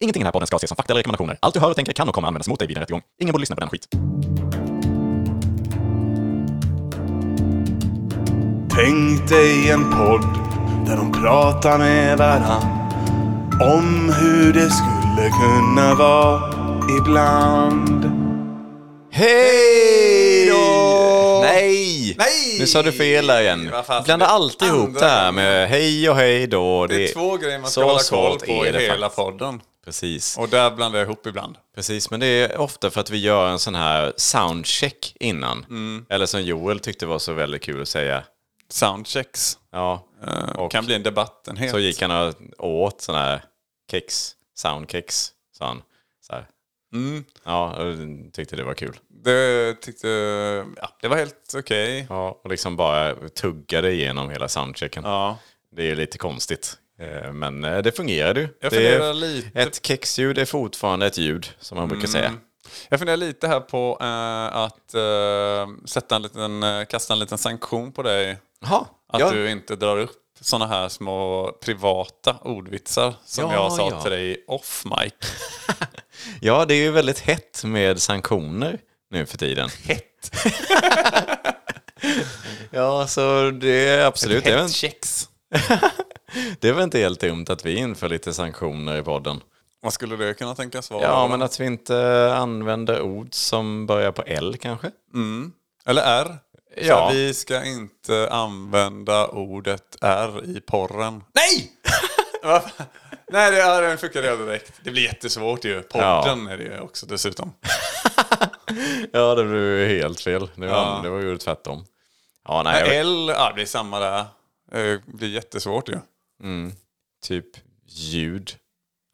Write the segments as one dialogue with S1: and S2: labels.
S1: Ingenting i den här podden ska ses som fakta eller rekommendationer. Allt du hör och tänker kan och kommer användas mot dig vid en rättegång. Ingen borde lyssna på den skit.
S2: Tänk dig en podd där de pratar med varann om hur det skulle kunna vara ibland.
S3: Hej då!
S4: Nej!
S3: Nej!
S4: Nu sa du fel där igen.
S3: Vad fan,
S4: Blanda
S3: det är
S4: alltid ihop
S3: andra
S4: det här med hej och hej då.
S3: Det är två grejer man ska hålla koll på i hela podden.
S4: Precis.
S3: Och där blandar jag ihop ibland.
S4: Precis, men det är ofta för att vi gör en sån här soundcheck innan.
S3: Mm.
S4: Eller som Joel tyckte var så väldigt kul att säga.
S3: Soundchecks.
S4: Ja,
S3: Eh,
S4: Och-
S3: kan bli en debattenhet.
S4: så gick han och åt sån här kex, soundkex, sa han. Så här.
S3: Mm.
S4: Ja, och tyckte det var kul.
S3: Det tyckte... Ja, det var helt okej.
S4: Ja, och liksom bara tuggade igenom hela soundchecken.
S3: Ja.
S4: Det är ju lite konstigt. Eh, Men eh, det fungerade ju.
S3: Jag
S4: det
S3: funderar lite- Mm.
S4: Ett kexljud är fortfarande ett ljud, som man brukar säga.
S3: Jag funderar lite här på eh, att eh, sätta en liten, eh, kasta en liten sanktion på dig.
S4: Jaha,
S3: Att
S4: ja.
S3: du inte drar upp sådana här små privata ordvitsar som
S4: Ja,
S3: jag sa
S4: ja.
S3: till dig off mic.
S4: ja, det är ju väldigt hett med sanktioner nu för tiden. Hett? ja, så det är absolut... Det är, väl,
S3: Hetschecks.
S4: det är väl inte helt dumt att vi inför lite sanktioner i podden.
S3: Vad skulle det kunna tänkas vara?
S4: Ja, men att vi inte använder ord som börjar på L kanske.
S3: Eller R.
S4: Ja.
S3: Ja. Vi ska inte använda ordet R i porren. Nej! Va? Nej, det är den funkar redan direkt. Det blir jättesvårt ju. Podden är det ju också dessutom.
S4: Ja, det blev ju helt fel. Det var,
S3: Ja.
S4: det var ju tvärtom. Ja, nej, jag-
S3: L, ja, det blir samma där. Det blir jättesvårt ju.
S4: typ ljud.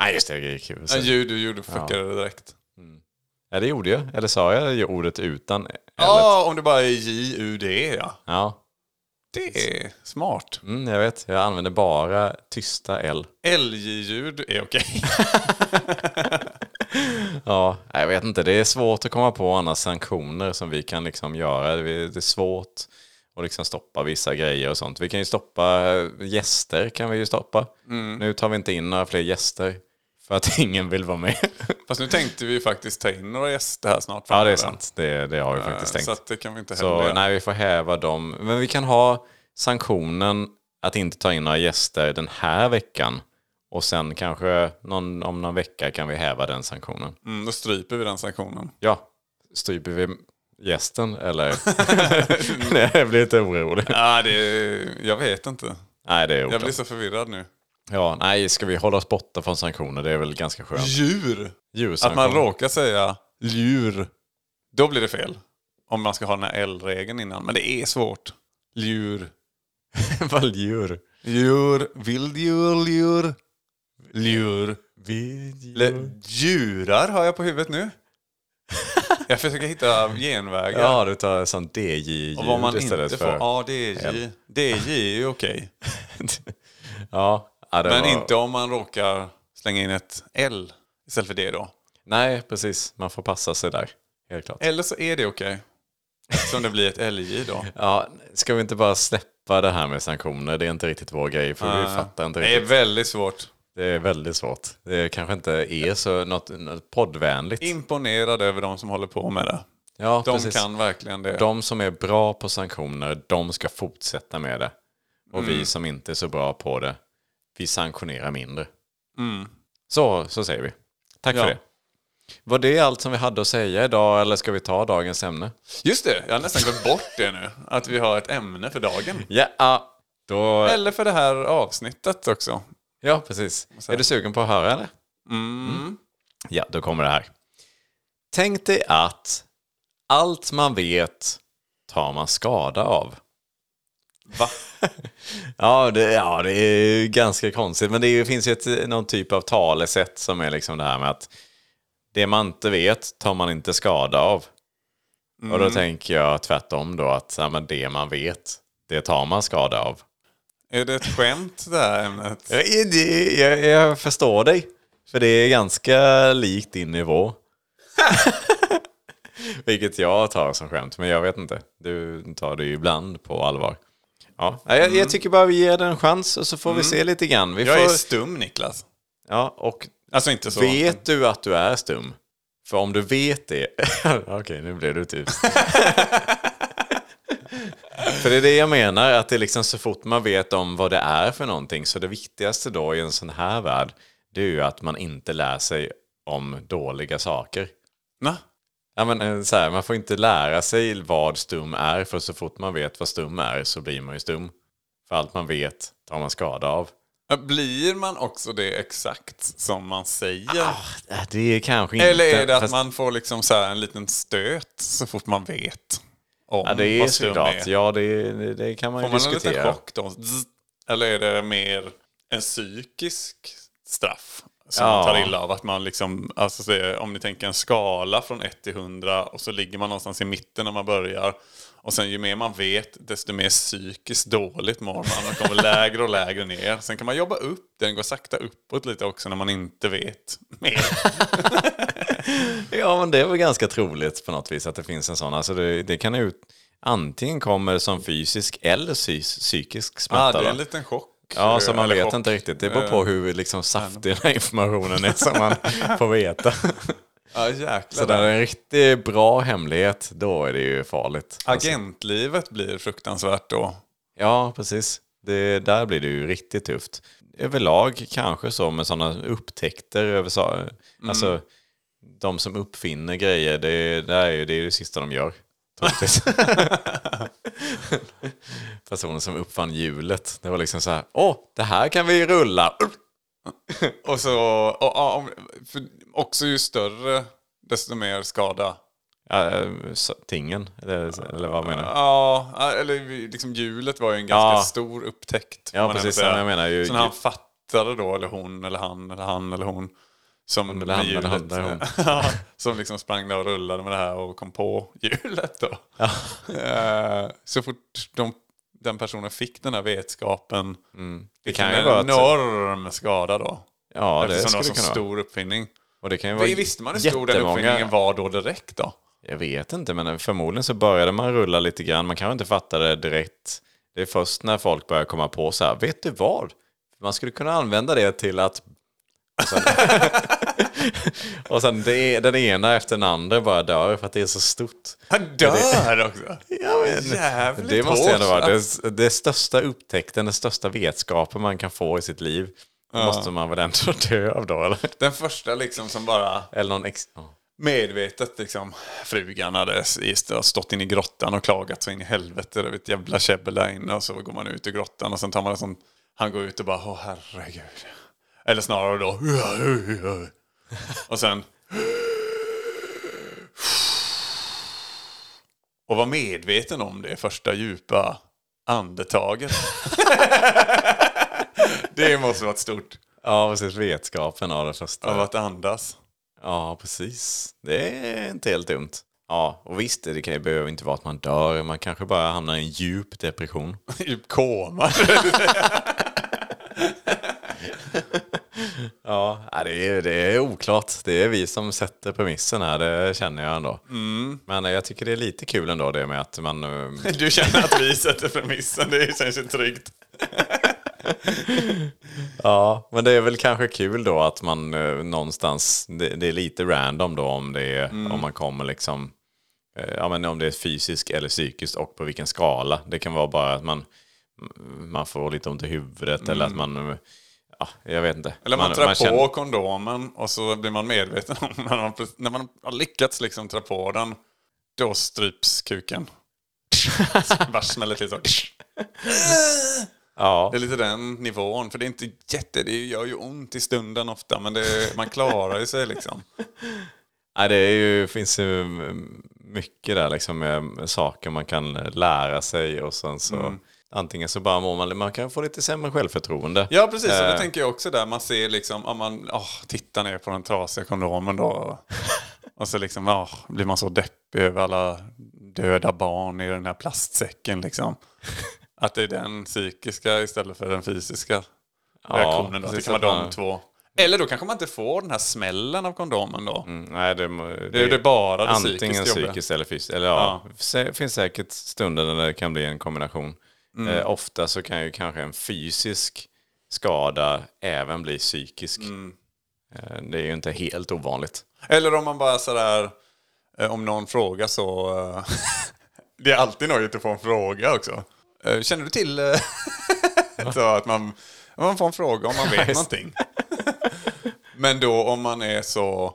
S4: Nej, just det. det är kul.
S3: Ja, ljud du gjorde funkade det direkt.
S4: Ja, det gjorde jag. Eller sa jag ju ordet utan L?
S3: Ja, om det bara är J-U-D ja.
S4: Ja.
S3: Det är smart.
S4: Mm, jag vet. Jag använder bara tysta L.
S3: LJ-ljud är okej.
S4: Ja, jag vet inte. Det är svårt att komma på andra sanktioner som vi kan liksom göra. Det är det är svårt att liksom stoppa vissa grejer och sånt. Vi kan ju stoppa eh, gäster. kan vi ju stoppa. Nu tar vi inte in några fler gäster för att ingen vill vara med.
S3: Fast nu tänkte vi ju faktiskt ta in några gäster här snart.
S4: Ja, det är
S3: framöver.
S4: sant. Det, det har vi faktiskt tänkt.
S3: Så att det kan vi inte heller
S4: Så
S3: göra.
S4: nej, vi får häva dem. Men vi kan ha sanktionen att inte ta in några gäster den här veckan. Och sen kanske någon, om någon vecka kan vi häva den sanktionen.
S3: Mm, då stryper vi den sanktionen.
S4: Ja, stryper vi gästen eller? nej, jag blir lite orolig.
S3: Ja, det jag vet inte.
S4: Nej, det är
S3: Jag blir
S4: oklart.
S3: så förvirrad nu.
S4: Ja, nej, ska vi hålla oss borta från sanktioner? Det är väl ganska skönt.
S3: Djur! Att
S4: Djursanktioner.
S3: man råkar säga djur, då blir det fel. Om man ska ha den här L-regeln innan. Men det är svårt. Djur.
S4: Vad djur?
S3: Djur. Vilddjur, djur. Djur. Le-
S4: Mm.
S3: Djurar har jag på huvudet nu. Jag försöker hitta genvägar.
S4: Ja, du tar sånt DJ-ljud
S3: och vad man
S4: istället
S3: inte får.
S4: för...
S3: Ja, DJ. DJ är ju okej.
S4: ja, ja, det
S3: Men
S4: var...
S3: inte om man råkar slänga in ett L istället för det då.
S4: Nej, precis. Man får passa sig där. Helt klart.
S3: Eller så är det okej. Som det blir ett LJ då.
S4: Ja, ska vi inte bara släppa det här med sanktioner? Det är inte riktigt vår grej, för vi fattar inte
S3: Det är
S4: riktigt.
S3: väldigt svårt.
S4: Det är väldigt svårt. Det kanske inte är så något, något poddvänligt.
S3: Imponerad över de som håller på med det.
S4: ja,
S3: De
S4: precis.
S3: kan verkligen det.
S4: De som är bra på sanktioner, de ska fortsätta med det. Och
S3: Mm.
S4: vi som inte är så bra på det, vi sanktionerar mindre. Så, så säger vi. Tack
S3: Mm. Ja.
S4: för det. Var det allt som vi hade att säga idag, eller ska vi ta dagens ämne?
S3: Just det, jag har nästan glömt bort det nu. Att vi har ett ämne för dagen.
S4: Ja, då...
S3: Eller för det här avsnittet också.
S4: Ja, precis. Är du sugen på att höra eller? Mm. Ja, då kommer det här. Tänk dig att allt man vet tar man skada av.
S3: Va?
S4: Ja, det, ja, det är ju ganska konstigt. Men det är, ju- finns ju ett, någon typ av talesätt som är liksom det här med att det man inte vet tar man inte skada av. Och då tänker jag tvärtom då att ja, men det man vet, det tar man skada av.
S3: Är det ett skämt det här ämnet?
S4: Jag, det- jag, jag förstår dig. För det är ganska likt din nivå. Vilket jag tar som skämt, men jag vet inte. Du tar det ju ibland på allvar. Ja, nej, jag, jag tycker bara vi ger den en chans och så får vi se lite grann. Vi
S3: Jag
S4: får,
S3: är stum Niklas.
S4: ja, och
S3: Alltså inte så.
S4: Vet du att du är stum? För om du vet det... Okej, nu blev du typ... för det är det jag menar, att det är liksom så fort man vet om vad det är för någonting så det viktigaste då i en sån här värld det är ju att man inte lär sig om dåliga saker.
S3: Na?
S4: Ja, men, eh, så här, man får inte lära sig vad stum är för så fort man vet vad stum är så blir man ju stum. För allt man vet tar man skada av.
S3: Ja, Blir man också det exakt som man säger?
S4: Ah, Det är kanske inte...
S3: Eller är det att
S4: fast-
S3: man får liksom så här en liten stöt så fort man vet om
S4: Ja, det är
S3: Mm, vad stum
S4: såklart.
S3: är?
S4: Ja, det, det- det kan man
S3: Får
S4: ju
S3: man en liten
S4: diskutera.
S3: chock då? Zzz. Eller är det mer en psykisk straff? Som
S4: Ja.
S3: man tar illa av att man liksom, alltså så är- om ni tänker en skala från 1 till 100 och så ligger man någonstans i mitten när man börjar. Och sen ju mer man vet desto mer psykiskt dåligt mår man. Man kommer lägre och lägre ner. Sen kan man jobba upp, den går sakta uppåt lite också när man inte vet mer.
S4: Ja, men det är väl ganska troligt på något vis att det finns en sån. Alltså det, det kan ju antingen kommer som fysisk eller psy- psykisk smärta.
S3: Ah, det är
S4: då.
S3: en liten chock.
S4: Ja, så man
S3: Eller
S4: vet
S3: chock. Eh,
S4: inte riktigt. Det beror på hur liksom saftig den här informationen är som man får veta.
S3: Ja, jäklar.
S4: Så där är en riktigt bra hemlighet, då är det ju farligt. Alltså,
S3: Agentlivet blir fruktansvärt då.
S4: Ja, precis. Det, där blir det ju riktigt tufft. Överlag kanske så med sådana upptäckter. Över, sa-
S3: Mm.
S4: Alltså, de som uppfinner grejer, det, det, är, ju, det är det sista de gör. troligtvis. Personen som uppfann hjulet, det var liksom så här, åh, det här kan vi rulla.
S3: Och så, och, ja, om, för också ju större desto mer skada.
S4: Ja, eh, så- tingen, eller, eller vad menar du?
S3: Ja, eller vi- liksom hjulet var ju en ganska
S4: Ja.
S3: stor upptäckt.
S4: Ja,
S3: får man
S4: precis,
S3: ändå säga.
S4: ja, jag menar ju-
S3: Så när han fattade då, eller hon, eller han, eller han, eller hon. Som
S4: eller han,
S3: med
S4: eller han,
S3: hjulet,
S4: eller hon.
S3: ja, som liksom sprang där och rullade med det här och kom på hjulet då. Eh, Så fort de, den personen fick den här vetskapen. Det
S4: Mm. kan
S3: kan
S4: ju vara
S3: en
S4: att-
S3: enorm skada då.
S4: Ja, det
S3: Eftersom det
S4: skulle det
S3: var så
S4: kunna vara.
S3: stor uppfinning.
S4: Och det kan ju vara
S3: Det visste man hur stor den
S4: jättemånga-
S3: uppfinningen var då direkt då?
S4: Jag vet inte, men förmodligen så började man rulla lite grann. Man kanske inte fattade det direkt. Det är först när folk börjar komma på så här, vet du vad? Man skulle kunna använda det till att... Och sen, och sen det, den ena efter den andra bara dör för att det är så stort.
S3: Han dör också!
S4: Ja, men,
S3: Jävligt
S4: det måste ju ändå
S3: hårt.
S4: vara det, det största upptäckten, den största vetskapen man kan få i sitt liv. Måste man väl ändå dö av då, eller?
S3: Den första liksom som bara
S4: Eller någon ex... ja.
S3: medvetet liksom frugan hade s- stått in i grottan och klagat så in i helvete. Det var ett jävla käbbel där inne och så går man ut ur grottan och sen tar man en sån... Han går ut och bara åh herregud. Eller snarare då... Och sen... Och var medveten om det första djupa andetaget. det måste varit stort.
S4: Ja, precis. Vetskapen av det första.
S3: Av att andas.
S4: Ja, precis. Det är inte helt dumt. Ja, och visst, det kan ju behöver inte vara att man dör. Man kanske bara hamnar i en djup depression.
S3: Djup koma.
S4: Ja, ja, det är, det är oklart. Det är vi som sätter premissen här, det känner jag ändå. Men eh, jag tycker det är lite kul ändå det med att man... eh,
S3: Du känner att vi sätter premissen, det känns ju tryggt.
S4: Ja, men det är väl kanske kul då att man eh, någonstans... Det, det är lite random då om, det är,
S3: Mm.
S4: om man kommer liksom... eh, Ja, men om det är fysiskt eller psykiskt och på vilken skala. Det kan vara bara att man, man får lite ont i huvudet eller att man... eh, Ja, jag vet inte.
S3: Mm. Eller man,
S4: man
S3: trär på
S4: känner-
S3: kondomen och så blir man medveten om när man, pre- när man har lyckats liksom trä på den, då stryps kuken. Bara smäller till så.
S4: Ja,
S3: Det är lite den nivån, för det är inte jätte, det gör ju ont i stunden ofta, men det, man klarar ju sig liksom.
S4: nej, det är ju, finns ju mm, mycket där liksom med saker man kan lära sig och sen så...
S3: Mm.
S4: Antingen så bara mår man, man kan få lite sämre självförtroende.
S3: Ja, precis. Och
S4: Eh.
S3: det tänker jag också där. Man ser liksom, om man åh, tittar ner på den trasiga kondomen då. Och så liksom, åh, blir man så deppig över alla döda barn i den här plastsäcken liksom. Att det är den psykiska istället för den fysiska reaktionen. Då. Att Det
S4: precis,
S3: kan vara
S4: att man-
S3: de två. Eller då kanske man inte får den här smällen av kondomen då.
S4: Nej, det, Mm, det,
S3: Det är det bara det
S4: Antingen
S3: psykiskt jobbiga.
S4: psykiskt eller fysiskt. Eller ja, det finns säkert stunder där det kan bli en kombination.
S3: Mm.
S4: Eh, ofta
S3: Mm.
S4: så kan ju kanske en fysisk skada även bli psykisk. Eh, Det är ju inte helt ovanligt.
S3: Eller om man bara sådär, eh, om någon frågar så... eh, det är alltid nöjigt att få en fråga också. Eh, Känner du till eh, så att man, man får en fråga om man vet någonting? Men då om man är så...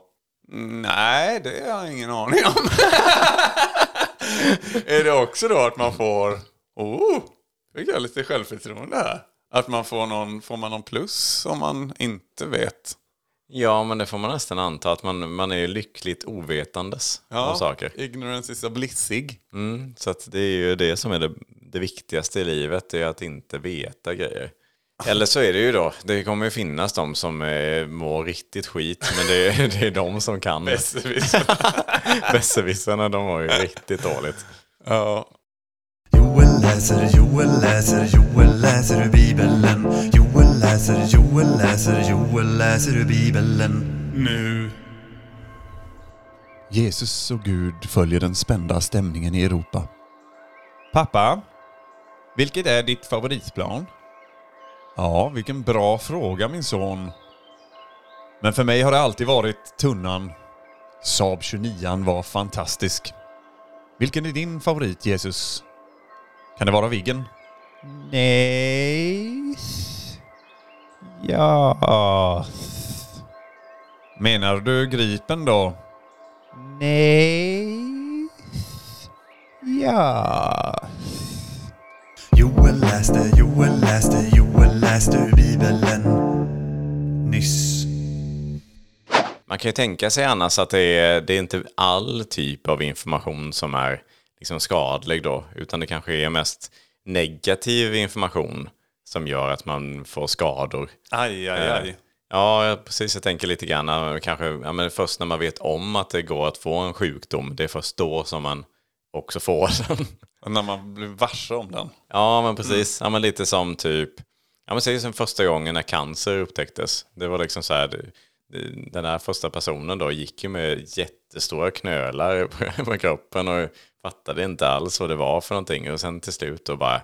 S3: mm, Nej, det har jag ingen aning om. är det också då att man får... Oh, fick jag lite självförtroende här. Att man får någon, får man någon plus om man inte vet?
S4: Ja, men det får man nästan anta att man, man är ju lyckligt ovetandes om saker.
S3: Ignorance is a blissig.
S4: Mm, så att det är ju det som är det, det viktigaste i livet, det är att inte veta grejer. Eller så är det ju då, det kommer ju finnas de som eh, mår riktigt skit, men det är, det är de som kan. Besserwissrarna, de mår ju riktigt dåligt.
S3: ja.
S5: Joel läser, Joel läser, Joel läser ur Bibeln. Joel läser, Joel läser, Joel läser ur Bibeln.
S2: Nu.
S6: Jesus och Gud följer den spända stämningen i Europa.
S7: Pappa, vilket är ditt favoritplan? Ja, vilken bra fråga min son. Men för mig har det alltid varit tunnan. Saab 29 var fantastisk. Vilken är din favorit Jesus? Kan det vara Viggen? Nej. Ja.
S3: Menar du Gripen då?
S7: Nej. Ja.
S5: Joel läste, Joel läste, Joel läste ur Bibeln. Nyss.
S4: Man kan ju tänka sig annars att det är, det är inte all typ av information som är liksom skadlig då, utan det kanske är mest negativ information som gör att man får skador.
S3: Aj, aj,
S4: Eh.
S3: aj.
S4: Ja, jag- precis. Jag tänker lite grann, eh, kanske ja, men först när man vet om att det går att få en sjukdom, det är först då som man också får den.
S3: När man blir varse om den.
S4: Ja, men precis. Ja, men lite som typ, ja men säg som första gången när cancer upptäcktes. Det var liksom så här, det- det- den här första personen då gick ju med jättestora knölar på- på kroppen och fattade inte alls vad det var för någonting. Och sen till slut då bara,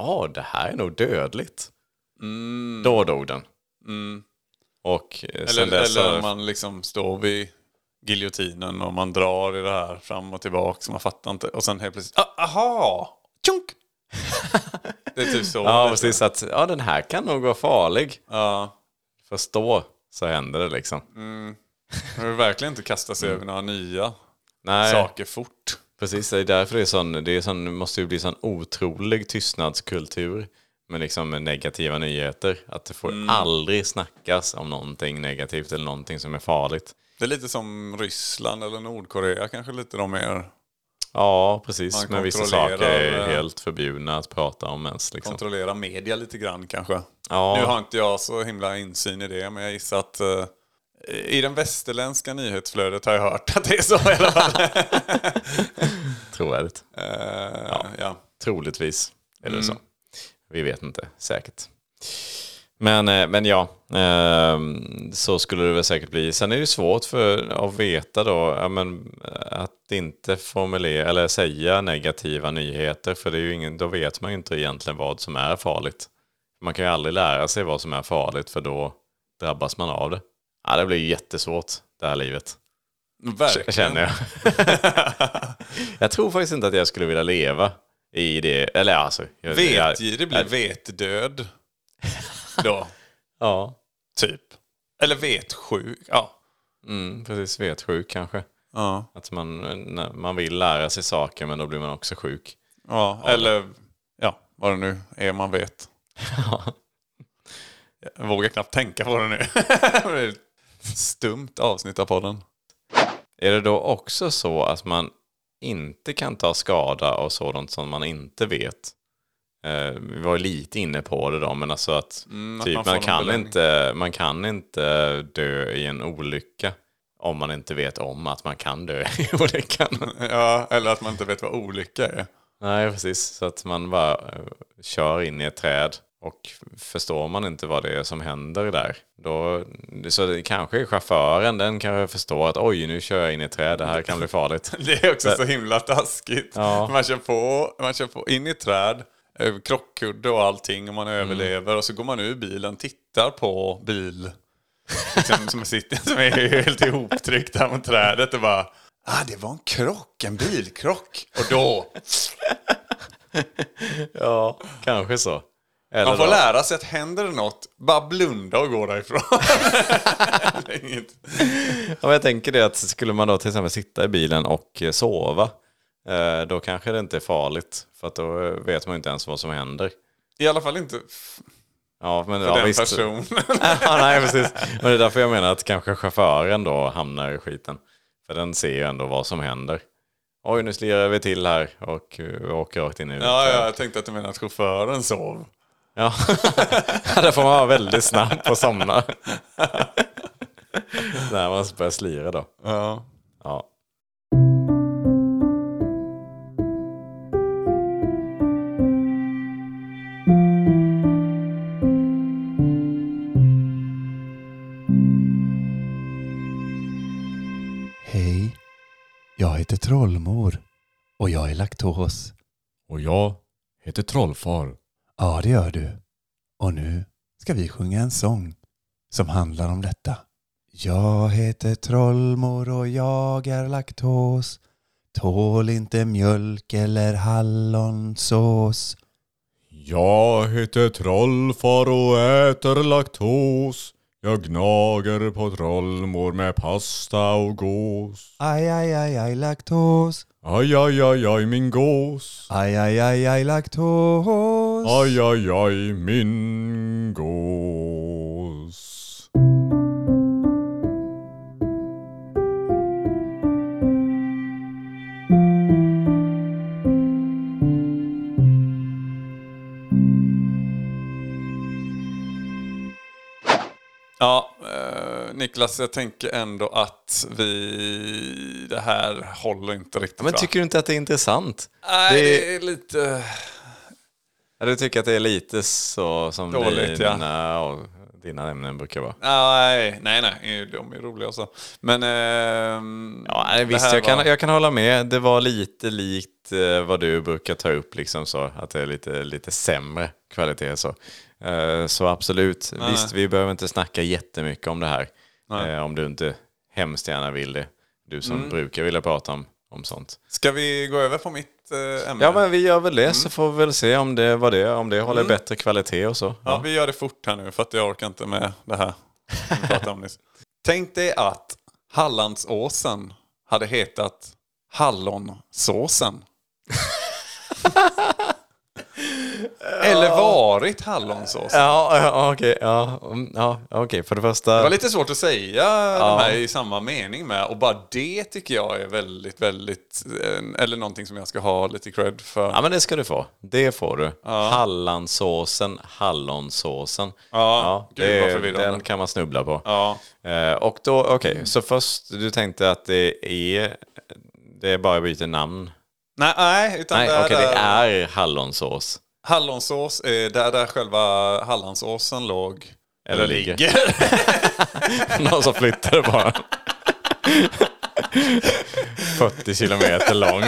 S4: ja det här är nog dödligt. Då dog den. Och eh, sen
S3: Mm. Eller,
S4: dess
S3: eller
S4: har-
S3: om man liksom står vid giljotinen och man drar i det här fram och tillbaka så man fattar inte. Och sen helt plötsligt, ah, aha! Tjunk! det är typ så.
S4: Ja,
S3: lite.
S4: precis. Att, ja, den här kan nog vara farlig.
S3: Ja.
S4: Först då så händer det liksom.
S3: Mm. Man vill verkligen inte kasta sig över några nya
S4: Nej,
S3: saker fort.
S4: precis. Det är därför det är sån, det är sån, måste ju bli sån otrolig tystnadskultur med liksom negativa nyheter. Att det får
S3: Mm.
S4: aldrig snackas om någonting negativt eller någonting som är farligt.
S3: Det är lite som Ryssland eller Nordkorea kanske lite de mer
S4: Ja, precis.
S3: Man
S4: men vissa
S3: kontrollerar,
S4: saker är
S3: eh,
S4: helt förbjudna att prata om ens. Liksom.
S3: kontrollerar media lite grann kanske.
S4: Ja.
S3: Nu har inte jag så himla insyn i det, men jag gissar att eh, i den västerländska nyhetsflödet har jag hört att det är så Eh, i alla fall.
S4: Trovärdigt.
S3: Eh, ja.
S4: Troligtvis är det så. Vi vet inte säkert. Men, eh, men ja, ehm, så skulle det väl säkert bli. Sen är det ju svårt för att veta då, ja, men, eh, att inte formulera eller säga negativa nyheter, för det är ju ingen, då vet man ju inte egentligen vad som är farligt. Man kan ju aldrig lära sig vad som är farligt, för då drabbas man av det. Ja, det blir ju jättesvårt, det här livet.
S3: Verkligen.
S4: Känner jag. jag tror faktiskt inte att jag skulle vilja leva i det. Eller alltså. Jag, jag,
S3: Vetgirig blir vetdöd. Då,
S4: ja,
S3: typ. Eller vetsjuk. Ja.
S4: mm, precis. Vetsjuk kanske.
S3: Ja.
S4: Att man, när man vill lära sig saker men då blir man också sjuk.
S3: ja. Eller ja, vad det nu är man vet. Jag vågar knappt tänka på det nu. det är ett stumt avsnitt av podden.
S4: Är det då också så att man inte kan ta skada av sådant som man inte vet? Eh, vi var lite inne på det då, men alltså att,
S3: att
S4: typ,
S3: man
S4: man,
S3: får någon
S4: kan
S3: belöning.
S4: inte, man kan inte dö i en olycka om man inte vet om att man kan dö i olyckan.
S3: Ja, eller att man inte vet vad olycka är.
S4: Nej, precis. Så att man bara eh, kör in i ett träd och förstår man inte vad det är som händer där. Då, så det kanske är chauffören, den kanske förstår att oj, nu kör jag in i ett träd, det här kan bli farligt.
S3: Det är också så himla taskigt.
S4: Ja.
S3: Man, kör på, man kör på in i ett träd, eh, Mm. krockkudde och allting och man överlever och så går man ur bilen, tittar på bil Liksom, som, sitter, som är helt ihoptryckt här mot trädet och bara... Ah, det var en krock, en bilkrock. Och då...
S4: Ja, kanske så. Eller
S3: Man får
S4: då-
S3: lära sig att händer det något, bara blunda och gå därifrån. Det är inget-
S4: Ja, men jag tänker det att skulle man då till exempel sitta i bilen och eh, sova, eh, då kanske det inte är farligt. För att då eh, vet man ju inte ens vad som händer.
S3: I alla fall inte f-
S4: Ja, men,
S3: för
S4: ja,
S3: den
S4: visst.
S3: personen.
S4: ja, nej, precis. Men det är därför jag menar att kanske chauffören då hamnar i skiten. För den ser ju ändå vad som händer. Oj, nu slirar vi till här och eh, vi åker rakt in i
S3: Ja, ja, jag tänkte att du menar att chauffören sov.
S4: Ja, där får man vara väldigt snabb och somna. När man börjar slira då.
S3: Ja.
S4: Ja.
S6: Hej, jag heter Trollmor och jag är laktos.
S8: Och jag heter Trollfar.
S6: Ja, det gör du. Och nu ska vi sjunga en sång som handlar om detta. Jag heter Trollmor och jag är laktos. Tål inte mjölk eller hallonsås.
S8: Jag heter Trollfar och äter laktos. Jag gnager på trollmor med pasta och gås.
S6: Aj, aj, aj, aj, laktos.
S8: Aj, aj, aj, aj min gås.
S6: Aj, aj, aj, aj, laktos.
S8: Aj, aj, aj min gås.
S3: Ja, eh, Niklas, jag tänker ändå att vi... Det här håller inte riktigt
S4: Ja, Men
S3: va?
S4: tycker du inte att det är intressant?
S3: Nej,
S4: det-
S3: det är lite...
S4: Ja, du tycker att det är lite så som
S3: Dåligt, ja.
S4: dina, och dina ämnen brukar vara?
S3: Nej, nej, nej. De är roliga också. Men... ehm,
S4: Ja, nej,
S3: det
S4: visst,
S3: här
S4: jag kan,
S3: var-
S4: jag kan hålla med. Det var lite likt eh, vad du brukar ta upp, liksom så, att det är lite, lite sämre kvalitet. Så, Eh, så absolut, visst, vi behöver inte snacka jättemycket om det här. Eh, om du inte hemskt gärna vill det. Du som brukar vilja prata om, om sånt.
S3: Ska vi gå över på mitt eh, ämne?
S4: Ja, men vi gör väl det, så får vi väl se om det, vad det, om det håller bättre kvalitet och så.
S3: Ja, vi gör det fort här nu för att jag orkar inte med det här. som vi pratade om nyss. Tänk dig att Hallandsåsen hade hetat Hallonsåsen. Eller varit Hallonsåsen.
S4: Ja, ja, okej. Ja, mm, ja, okej. För det första...
S3: Det var lite svårt att säga de här i samma mening med. Och bara det tycker jag är väldigt, väldigt... eh, Eller någonting som jag ska ha lite cred för.
S4: Ja, men det ska du få. Det får du. Hallandsåsen, hallonsåsen.
S3: gud,
S4: det-
S3: vad förvirrande.
S4: den kan man snubbla på.
S3: Ja.
S4: Eh, och då, okej, så först du tänkte att det är, det är bara att byta namn.
S3: Nej, nej, utan
S4: Nej,
S3: det, är
S4: okej, det
S3: där-
S4: är hallonsås.
S3: Hallonsås är där, där själva Hallandsåsen låg.
S4: Eller ligger. Någon som flyttade bara. 40 kilometer lång.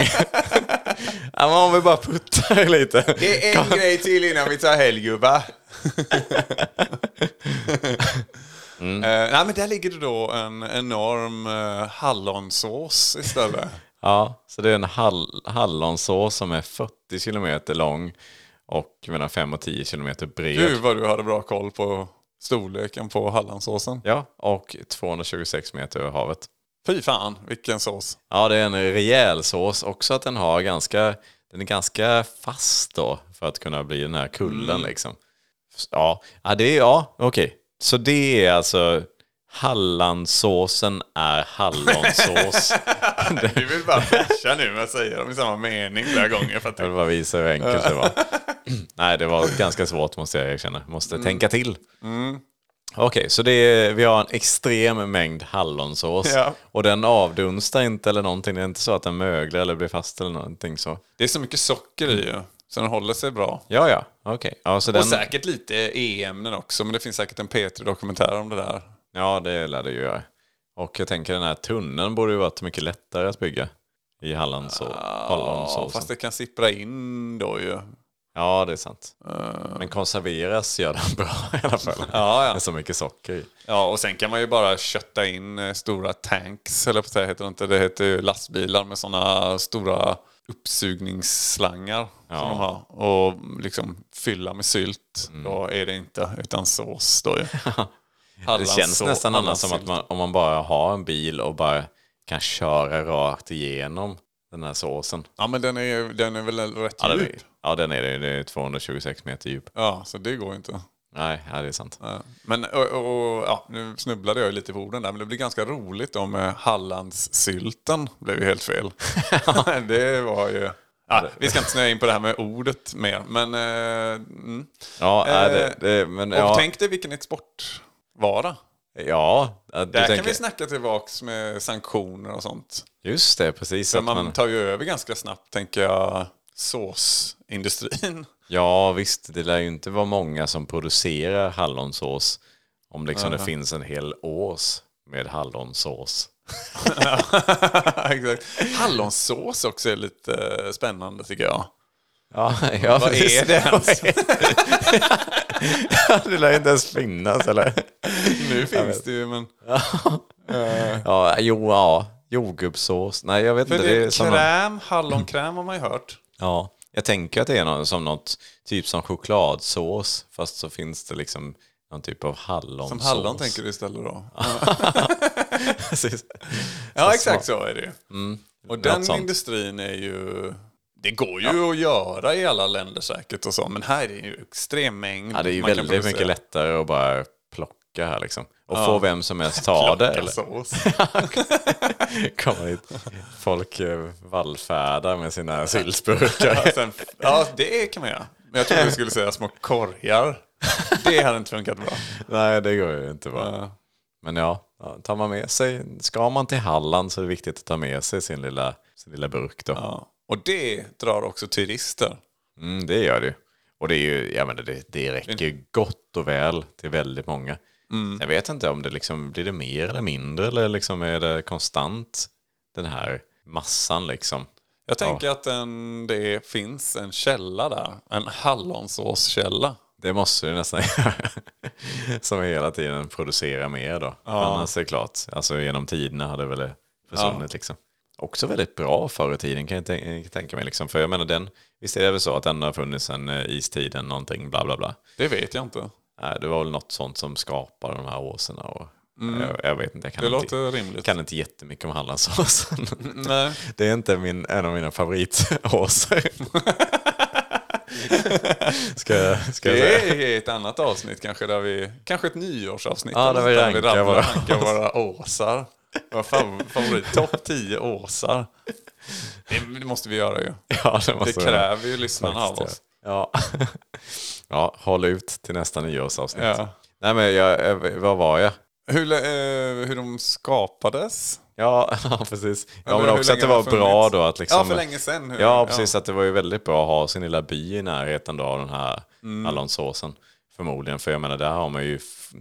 S4: ja, men om vi bara puttar lite.
S3: Det är en grej till innan vi tar helg gubbar. Eh, nej men där ligger det då en enorm eh, hallonsås istället.
S4: Ja, så det är en hall hallonsås som är 40 kilometer lång och mellan 5 och 10 kilometer bred.
S3: Gud vad du hade bra koll på storleken på hallonsåsen.
S4: Ja, och 226 meter över havet.
S3: Fy fan vilken sås.
S4: Ja, det är en rejäl sås också att den har ganska, den är ganska fast då för att kunna bli den här kullen liksom. Ja, ja det är, ja, okej. Så det är alltså Hallandsåsen är hallonsås.
S3: Du vill bara flasha nu med att säga dem i samma mening flera gånger. För att
S4: Jag vill bara visa hur enkelt det var. Nej, det var ganska svårt måste jag erkänna. Måste
S3: Mm.
S4: tänka till. Okej, så det är, vi har en extrem mängd hallonsås.
S3: Ja.
S4: Och den avdunstar inte eller någonting. Det är inte så att den möglar eller blir fast eller någonting så.
S3: det är så mycket socker i ju, så den håller sig bra.
S4: Ja, ja, okej. Ja, så
S3: Och
S4: den...
S3: säkert lite E-ämnen också, men det finns säkert en P3-dokumentär om det där.
S4: Ja, det lär det ju göra. Och jag tänker den här tunneln borde ju varit mycket lättare att bygga i Hallandså-
S3: Ja,
S4: Hallandsåsen.
S3: fast det kan sippra in då ju.
S4: Ja, det är sant.
S3: Eh.
S4: Men konserveras gör den bra i alla fall. Ja, ja. Med så mycket socker i.
S3: Ja, och sen kan man ju bara kötta in eh, stora tanks, eller på det heter det inte. Det heter ju lastbilar med sådana stora uppsugningsslangar som de har. Och liksom fylla med sylt.
S4: Mm.
S3: Då är det inte utan sås då ju.
S4: Det känns
S3: Hallandsså-
S4: nästan annars som att
S3: hallandssylt.
S4: man, om man bara har en bil och bara kan köra rakt igenom den här såsen.
S3: Ja, men den är, ju- den är väl rätt
S4: Ja, den är,
S3: djup.
S4: ja, den är, det. Den är 226 meter djup.
S3: Ja, så det går ju inte.
S4: Nej, ja, det är sant.
S3: Ja. Men och, och, ja, nu snubblade jag ju lite på orden där, men det blir ganska roligt om eh, Hallandssylten blev ju helt fel. det var ju... Ja, vi ska inte snöa in på det här med ordet mer, men... Eh, mm.
S4: Ja,
S3: Eh,
S4: nej, det, det, men
S3: Och
S4: ja.
S3: tänk dig vilken exportvara.
S4: ja du
S3: Där kan
S4: tänker,
S3: vi snacka tillbaks med sanktioner och sånt.
S4: Just det, precis.
S3: För
S4: Att
S3: man,
S4: man,
S3: tar ju över ganska snabbt, tänker jag, såsindustrin.
S4: ja, visst. Det lär ju inte vara många som producerar hallonsås om liksom det finns en hel ås med hallonsås.
S3: Exakt. Hallonsås också är lite eh, spännande tycker jag.
S4: Ja, ja,
S3: Vad
S4: precis.
S3: är det ens?
S4: Ja, det lär ju inte ens finnas, eller?
S3: Nu finns det ju, men...
S4: Ja, jo, ja. Jordgubbssås. Nej, jag vet
S3: För
S4: inte. Det är som någon,
S3: kräm, hallonkräm har man ju hört.
S4: ja, jag tänker att det är någon, som något typ som chokladsås, fast så finns det liksom någon typ av hallonsås.
S3: Som hallon tänker du istället då.
S4: Ah, Precis.
S3: Ja, exakt så är det ju.
S4: Mm.
S3: Och den
S4: Något sånt.
S3: industrin är ju... Det går ju att göra i alla länder säkert och så, men här är det ju extrem mängd.
S4: Ja, det är ju
S3: man kan
S4: väldigt mycket
S3: producera.
S4: lättare att bara plocka här liksom. Och få vem som helst ta det.
S3: Plocka
S4: Eller?
S3: sås.
S4: Kommer hit. Folk eh, vallfärdar med sina syltburkar.
S3: Ja, sen, ja, det kan man göra. Men jag trodde du skulle säga små korgar. Det hade inte funkat bra.
S4: Nej, det går ju inte bara. Men ja, ja, tar man med sig, ska man till Halland så är det viktigt att ta med sig sin lilla, sin lilla burk då.
S3: Ja. Och det drar också turister.
S4: Mm, det gör det ju. Och det är ju, jag menar, det, det räcker ju gott och väl till väldigt många. Jag vet inte om det liksom, blir det mer eller mindre eller liksom är det konstant den här massan liksom.
S3: Jag tänker att en, det finns en källa där. En hallonsåskälla.
S4: Det måste du nästan göra. Som hela tiden producerar mer då. Annars är det klart, alltså genom tiderna hade väl det försvunnit liksom. Också väldigt bra förr i tiden kan jag tän- kan jag tänka mig. Liksom. För jag menar den, visst är det väl så att den har funnits sedan eh, istiden någonting bla bla bla.
S3: Det vet jag inte.
S4: Nej, det var väl något sånt som skapade de här åsarna och jag, jag vet inte. Jag kan
S3: Mm. Det
S4: inte,
S3: låter Mm. rimligt.
S4: kan inte jättemycket om Hallandsåsen.
S3: Nej.
S4: Det är inte min, en av mina favoritåsar. ska, jag- ska jag säga.
S3: Det är ett annat avsnitt kanske, där vi, kanske ett nyårsavsnitt.
S4: Ja,
S3: eller
S4: där vi
S3: något
S4: rankar
S3: rabblar-
S4: våra-
S3: rankar våra åsar. Våra fav- favorit, topp 10 åsar. Det, det måste vi göra ju.
S4: Ja, det,
S3: Det
S4: måste vi-
S3: kräver ju lyssnarna
S4: Faktiskt,
S3: av oss.
S4: Ja. Ja. ja, håll ut till nästa nyårsavsnitt.
S3: Ja.
S4: Nej, men jag, jag- vad var jag?
S3: Hur, lä- eh, hur de skapades?
S4: Ja, ja, precis. Ja, men
S3: hur
S4: också att det
S3: länge
S4: var
S3: har det
S4: bra
S3: funnits?
S4: då att liksom...
S3: Ja, för länge sedan. Hur-
S4: Ja, precis. Att det var ju väldigt bra att ha sin lilla by i närheten då av den här
S3: Mm.
S4: hallonsåsen. Förmodligen, för jag menar, där har man ju... f-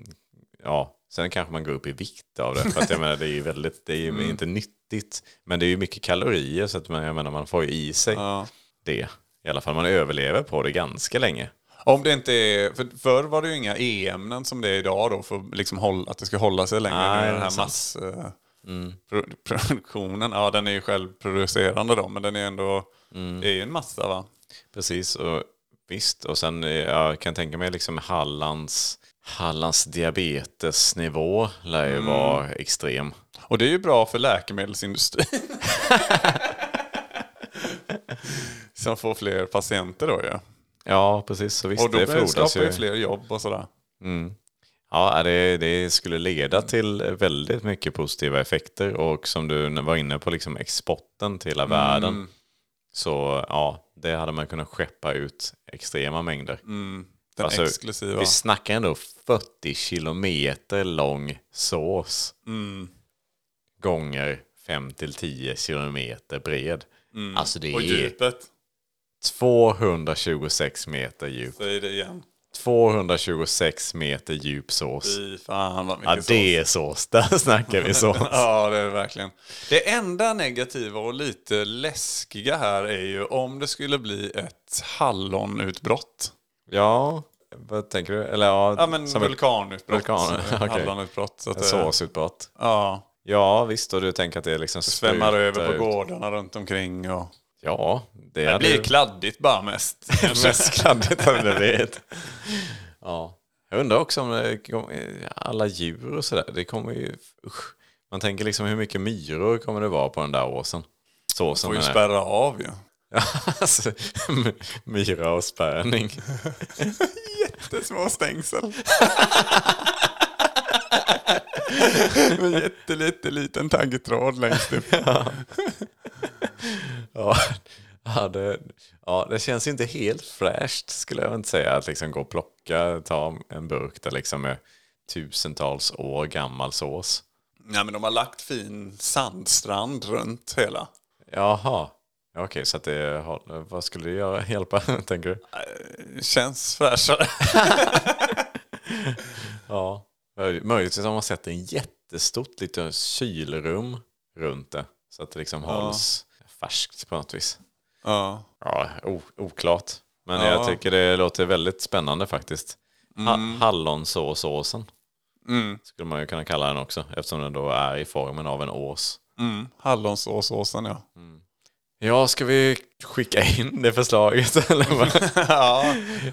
S4: Ja, sen kanske man går upp i vikt av det. För att jag menar, det är ju väldigt... Det är ju
S3: Mm.
S4: inte nyttigt. Men det är ju mycket kalorier, så att man, jag menar, man får ju i sig det. I alla fall, man överlever på det ganska länge.
S3: Om det inte är, för förr var det ju inga e-ämnen som det är idag då för att liksom hålla, att det ska hålla sig längre.
S4: Nej, Mm.
S3: Nej,
S4: det
S3: den
S4: är
S3: här
S4: sant.
S3: massproduktionen, ja den är ju självproducerande då men den är ändå,
S4: Mm.
S3: det är ju en massa va?
S4: Precis, och visst. Och sen eh, jag kan tänka mig liksom Hallands, Hallands diabetesnivå lär
S3: Mm.
S4: ju vara extrem.
S3: Och det är ju bra för läkemedelsindustrin. som får fler patienter då ju.
S4: Ja, precis. Så visst,
S3: Och då
S4: det
S3: blir det
S4: frodas
S3: skapar
S4: ju.
S3: ju fler jobb och sådär.
S4: Ja, det, det skulle leda till väldigt mycket positiva effekter. Och som du var inne på, liksom exporten till hela världen. Så ja, det hade man kunnat skeppa ut extrema mängder.
S3: Den
S4: Alltså,
S3: exklusiva.
S4: Vi snackar ändå 40 kilometer lång sås. Gånger 5-10 kilometer bred. Alltså det
S3: Och
S4: är
S3: djupet,
S4: 226 meter djup.
S3: säger det igen.
S4: 226 meter djup sås.
S3: Fy fan vad mycket
S4: Ja, det är sås. Där snackar vi sås.
S3: sås. Ja, det är det verkligen. Det enda negativa och lite läskiga här är ju om det skulle bli ett hallonutbrott.
S4: Ja, vad tänker du? Eller ja,
S3: Ja, men
S4: som ett
S3: vulkanutbrott.
S4: vulkan,
S3: Eh,
S4: okej.
S3: Hallonutbrott. Så att eh,
S4: ett
S3: det-
S4: såsutbrott.
S3: Ja,
S4: Ja, visst. Och du tänker att det liksom
S3: det svämmar
S4: sprutar
S3: över på
S4: ut.
S3: gårdarna runt omkring. Och...
S4: Ja, det,
S3: Det
S4: hade
S3: blir
S4: ju-
S3: kladdigt bara mest.
S4: mest kladdigt av det vet. Ja. Jag undrar också om det kom, alla djur och sådär. Det kommer ju... Usch. Man tänker liksom hur mycket myror kommer det vara på den där åsen? Såsen
S3: får ju
S4: menar jag.
S3: spärra av ju.
S4: alltså, my- myra och spärrning.
S3: Jättesmå stängsel. Med jättelite liten taggtråd längst upp.
S4: Ja. Ja, det, ja, det känns ju inte helt fräscht skulle jag inte säga. Att liksom gå och plocka, ta en burk där liksom är tusentals år gammal sås.
S3: Nej men de har lagt fin sandstrand runt hela.
S4: Jaha. Okej, så att det, har- vad skulle det göra, hjälpa, tänker du?
S3: Känns fräschare.
S4: Ja, möj- möjligtvis har man sett en jättestort litet kylrum runt det. Så att det liksom hålls färskt på något vis.
S3: Ja.
S4: Ja, o- oklart. Men
S3: Ja.
S4: jag tycker det låter väldigt spännande faktiskt. Ha hallonsåsåsen
S3: Mm.
S4: skulle man ju kunna kalla den också. Eftersom den då är i formen av en ås.
S3: Mm. Hallonsåsåsen ja.
S4: Ja, ska vi skicka in det förslaget? Eller vad?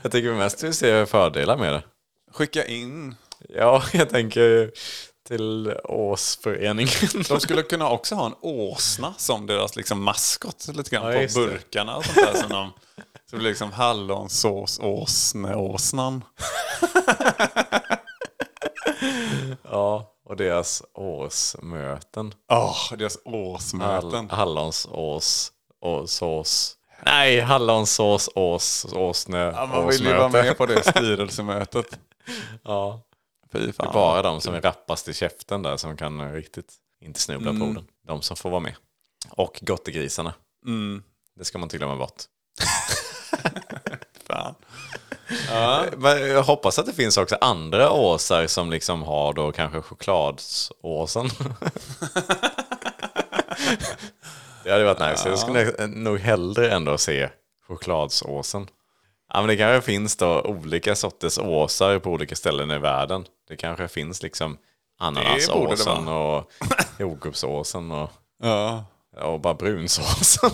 S4: Jag tycker mest vi ser fördelar med det.
S3: Skicka in.
S4: Ja, jag tänker till Åsföreningen.
S3: De skulle kunna också ha en åsna som deras liksom maskot lite grann
S4: Ja,
S3: på
S4: just det.
S3: burkarna och sånt där. Som de, så det blir liksom hallonsås-åsne-åsnan.
S4: Ja, och deras årsmöten.
S3: Ja, deras
S4: Hall,
S3: åsmöten.
S4: hallons ås, ås, ås. Nej, hallons ås, ås, åsnö,
S3: Ja, man vill ju vara med på det styrelsemötet.
S4: Ja.
S3: Fy
S4: Det är
S3: fan.
S4: bara de som är rappast i käften där som kan eh, riktigt inte snubbla på orden. De som får vara med. Och gottegrisarna.
S3: Mm.
S4: Det ska man inte glömma bort.
S3: Fan.
S4: Men jag hoppas att det finns också andra åsar som liksom har då kanske chokladsåsen. det hade varit nice. Jag skulle nog hellre ändå se chokladsåsen. Ja, men det kanske finns då olika sorters åsar på olika ställen i världen. Det kanske finns liksom ananasåsen och jordgubbsåsen och,
S3: Ja.
S4: och bara brunsåsen.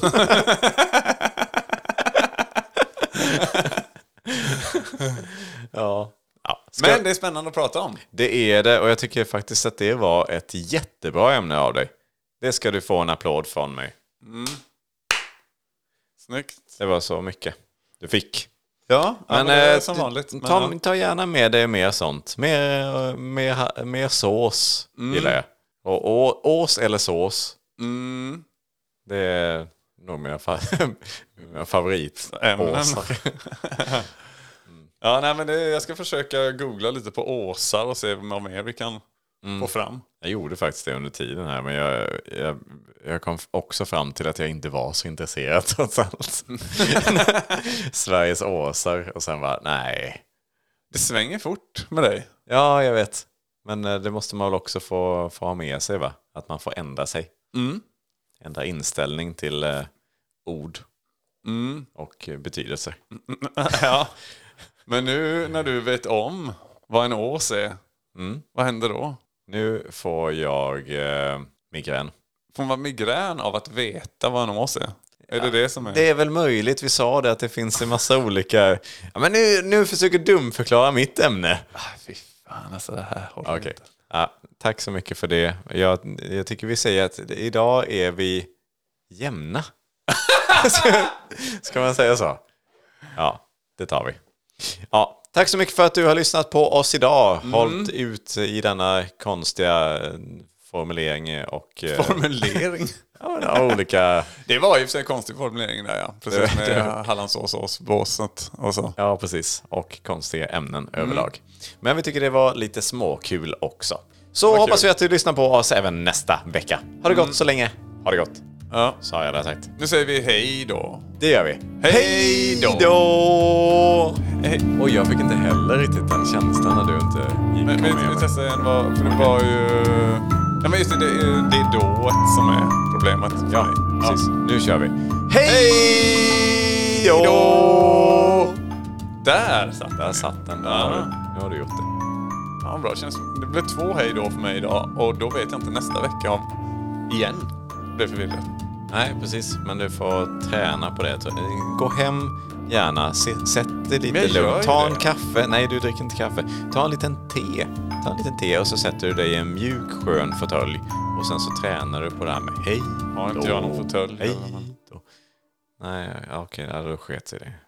S4: ja. ja. Ska-
S3: Men det är spännande att prata om.
S4: det är det och jag tycker faktiskt att det var ett jättebra ämne av dig. Det ska du få en applåd från mig.
S3: Snyggt.
S4: Det var så mycket du fick.
S3: Ja, men, det
S4: eh,
S3: är som
S4: t-
S3: vanligt. Men,
S4: ta,
S3: ja.
S4: ta gärna med dig mer sånt. Mer, eh, mer, ha- mer sås gillar jag. Och, å- ås eller sås,
S3: mm,
S4: det är nog mina, fa mina
S3: Ämnen.
S4: favoritåsar.
S3: ja, nej, men det, jag ska försöka googla lite på åsar och se vad mer vi kan få fram.
S4: Jag gjorde faktiskt det under tiden här, men jag, jag, jag kom också fram till att jag inte var så intresserad trots allt. Sveriges åsar och sen bara, nej.
S3: Det svänger fort med dig.
S4: Ja, jag vet. Men eh, det måste man väl också få, få ha med sig, va? Att man får ändra sig. Ändra inställning till eh, ord och eh, betydelser.
S3: ja. Men nu när du vet om vad en ås är, vad händer då?
S4: Nu får jag eh, migrän.
S3: Får man migrän av att veta vad en ås är? Är det det som är?
S4: Det är väl möjligt, vi sa det, att det finns en massa olika... Ja, men nu, nu försöker dumförklara mitt ämne.
S3: Ah, fy fan alltså det här håller
S4: Okej.
S3: inte.
S4: Ja, tack så mycket för det. Jag, jag tycker vi säger att idag är vi jämna. Alltså, Ska man säga så? Ja, det tar vi. Ja, tack så mycket för att du har lyssnat på oss idag. Hållt ut i denna konstiga eh, formulering och eh,
S3: Formulering.
S4: ja, men av olika...
S3: Det var i och för sig en konstig formulering där ja. Precis
S4: Det-
S3: med Hallandsås och båset och så.
S4: Ja, precis. Och konstiga ämnen överlag. Men vi tycker det var lite småkul också. Så hoppas vi att du lyssnar på oss även nästa vecka. Ha det gott så länge. Ha det gott.
S3: Ja.
S4: Så har jag det sagt.
S3: Nu säger vi hej då.
S4: Det gör vi.
S3: Hej då!
S4: då! Och jag fick inte heller riktigt den känslan när du inte gick
S3: Men, men vi testar igen vad, för det var ju... Nej men just det, det, är- det är dået som är problemet.
S4: Ja, precis. Nu kör vi.
S3: Hej då! Där satt den.
S4: Där satt den. Nu
S3: Ja.
S4: har du, nu har du gjort det.
S3: Ja, bra. Det, känns, det blev två hej då för mig idag och då vet jag inte nästa vecka om... Igen? Blev förvirrad.
S4: Nej, precis. Men du får träna på det. Gå hem gärna. Se- Sätt dig
S3: Men jag
S4: lite
S3: gör
S4: lugnt.
S3: ju
S4: Ta en
S3: det.
S4: kaffe. Nej, du dricker inte kaffe. Ta en liten te. Ta en liten te och så sätter du dig i en mjuk, skön fåtölj. Och sen så tränar du på det här med hej
S3: Har inte
S4: då.
S3: jag någon fåtölj?
S4: Hej då. Nej, ja, okej. ja, Då sket sig det.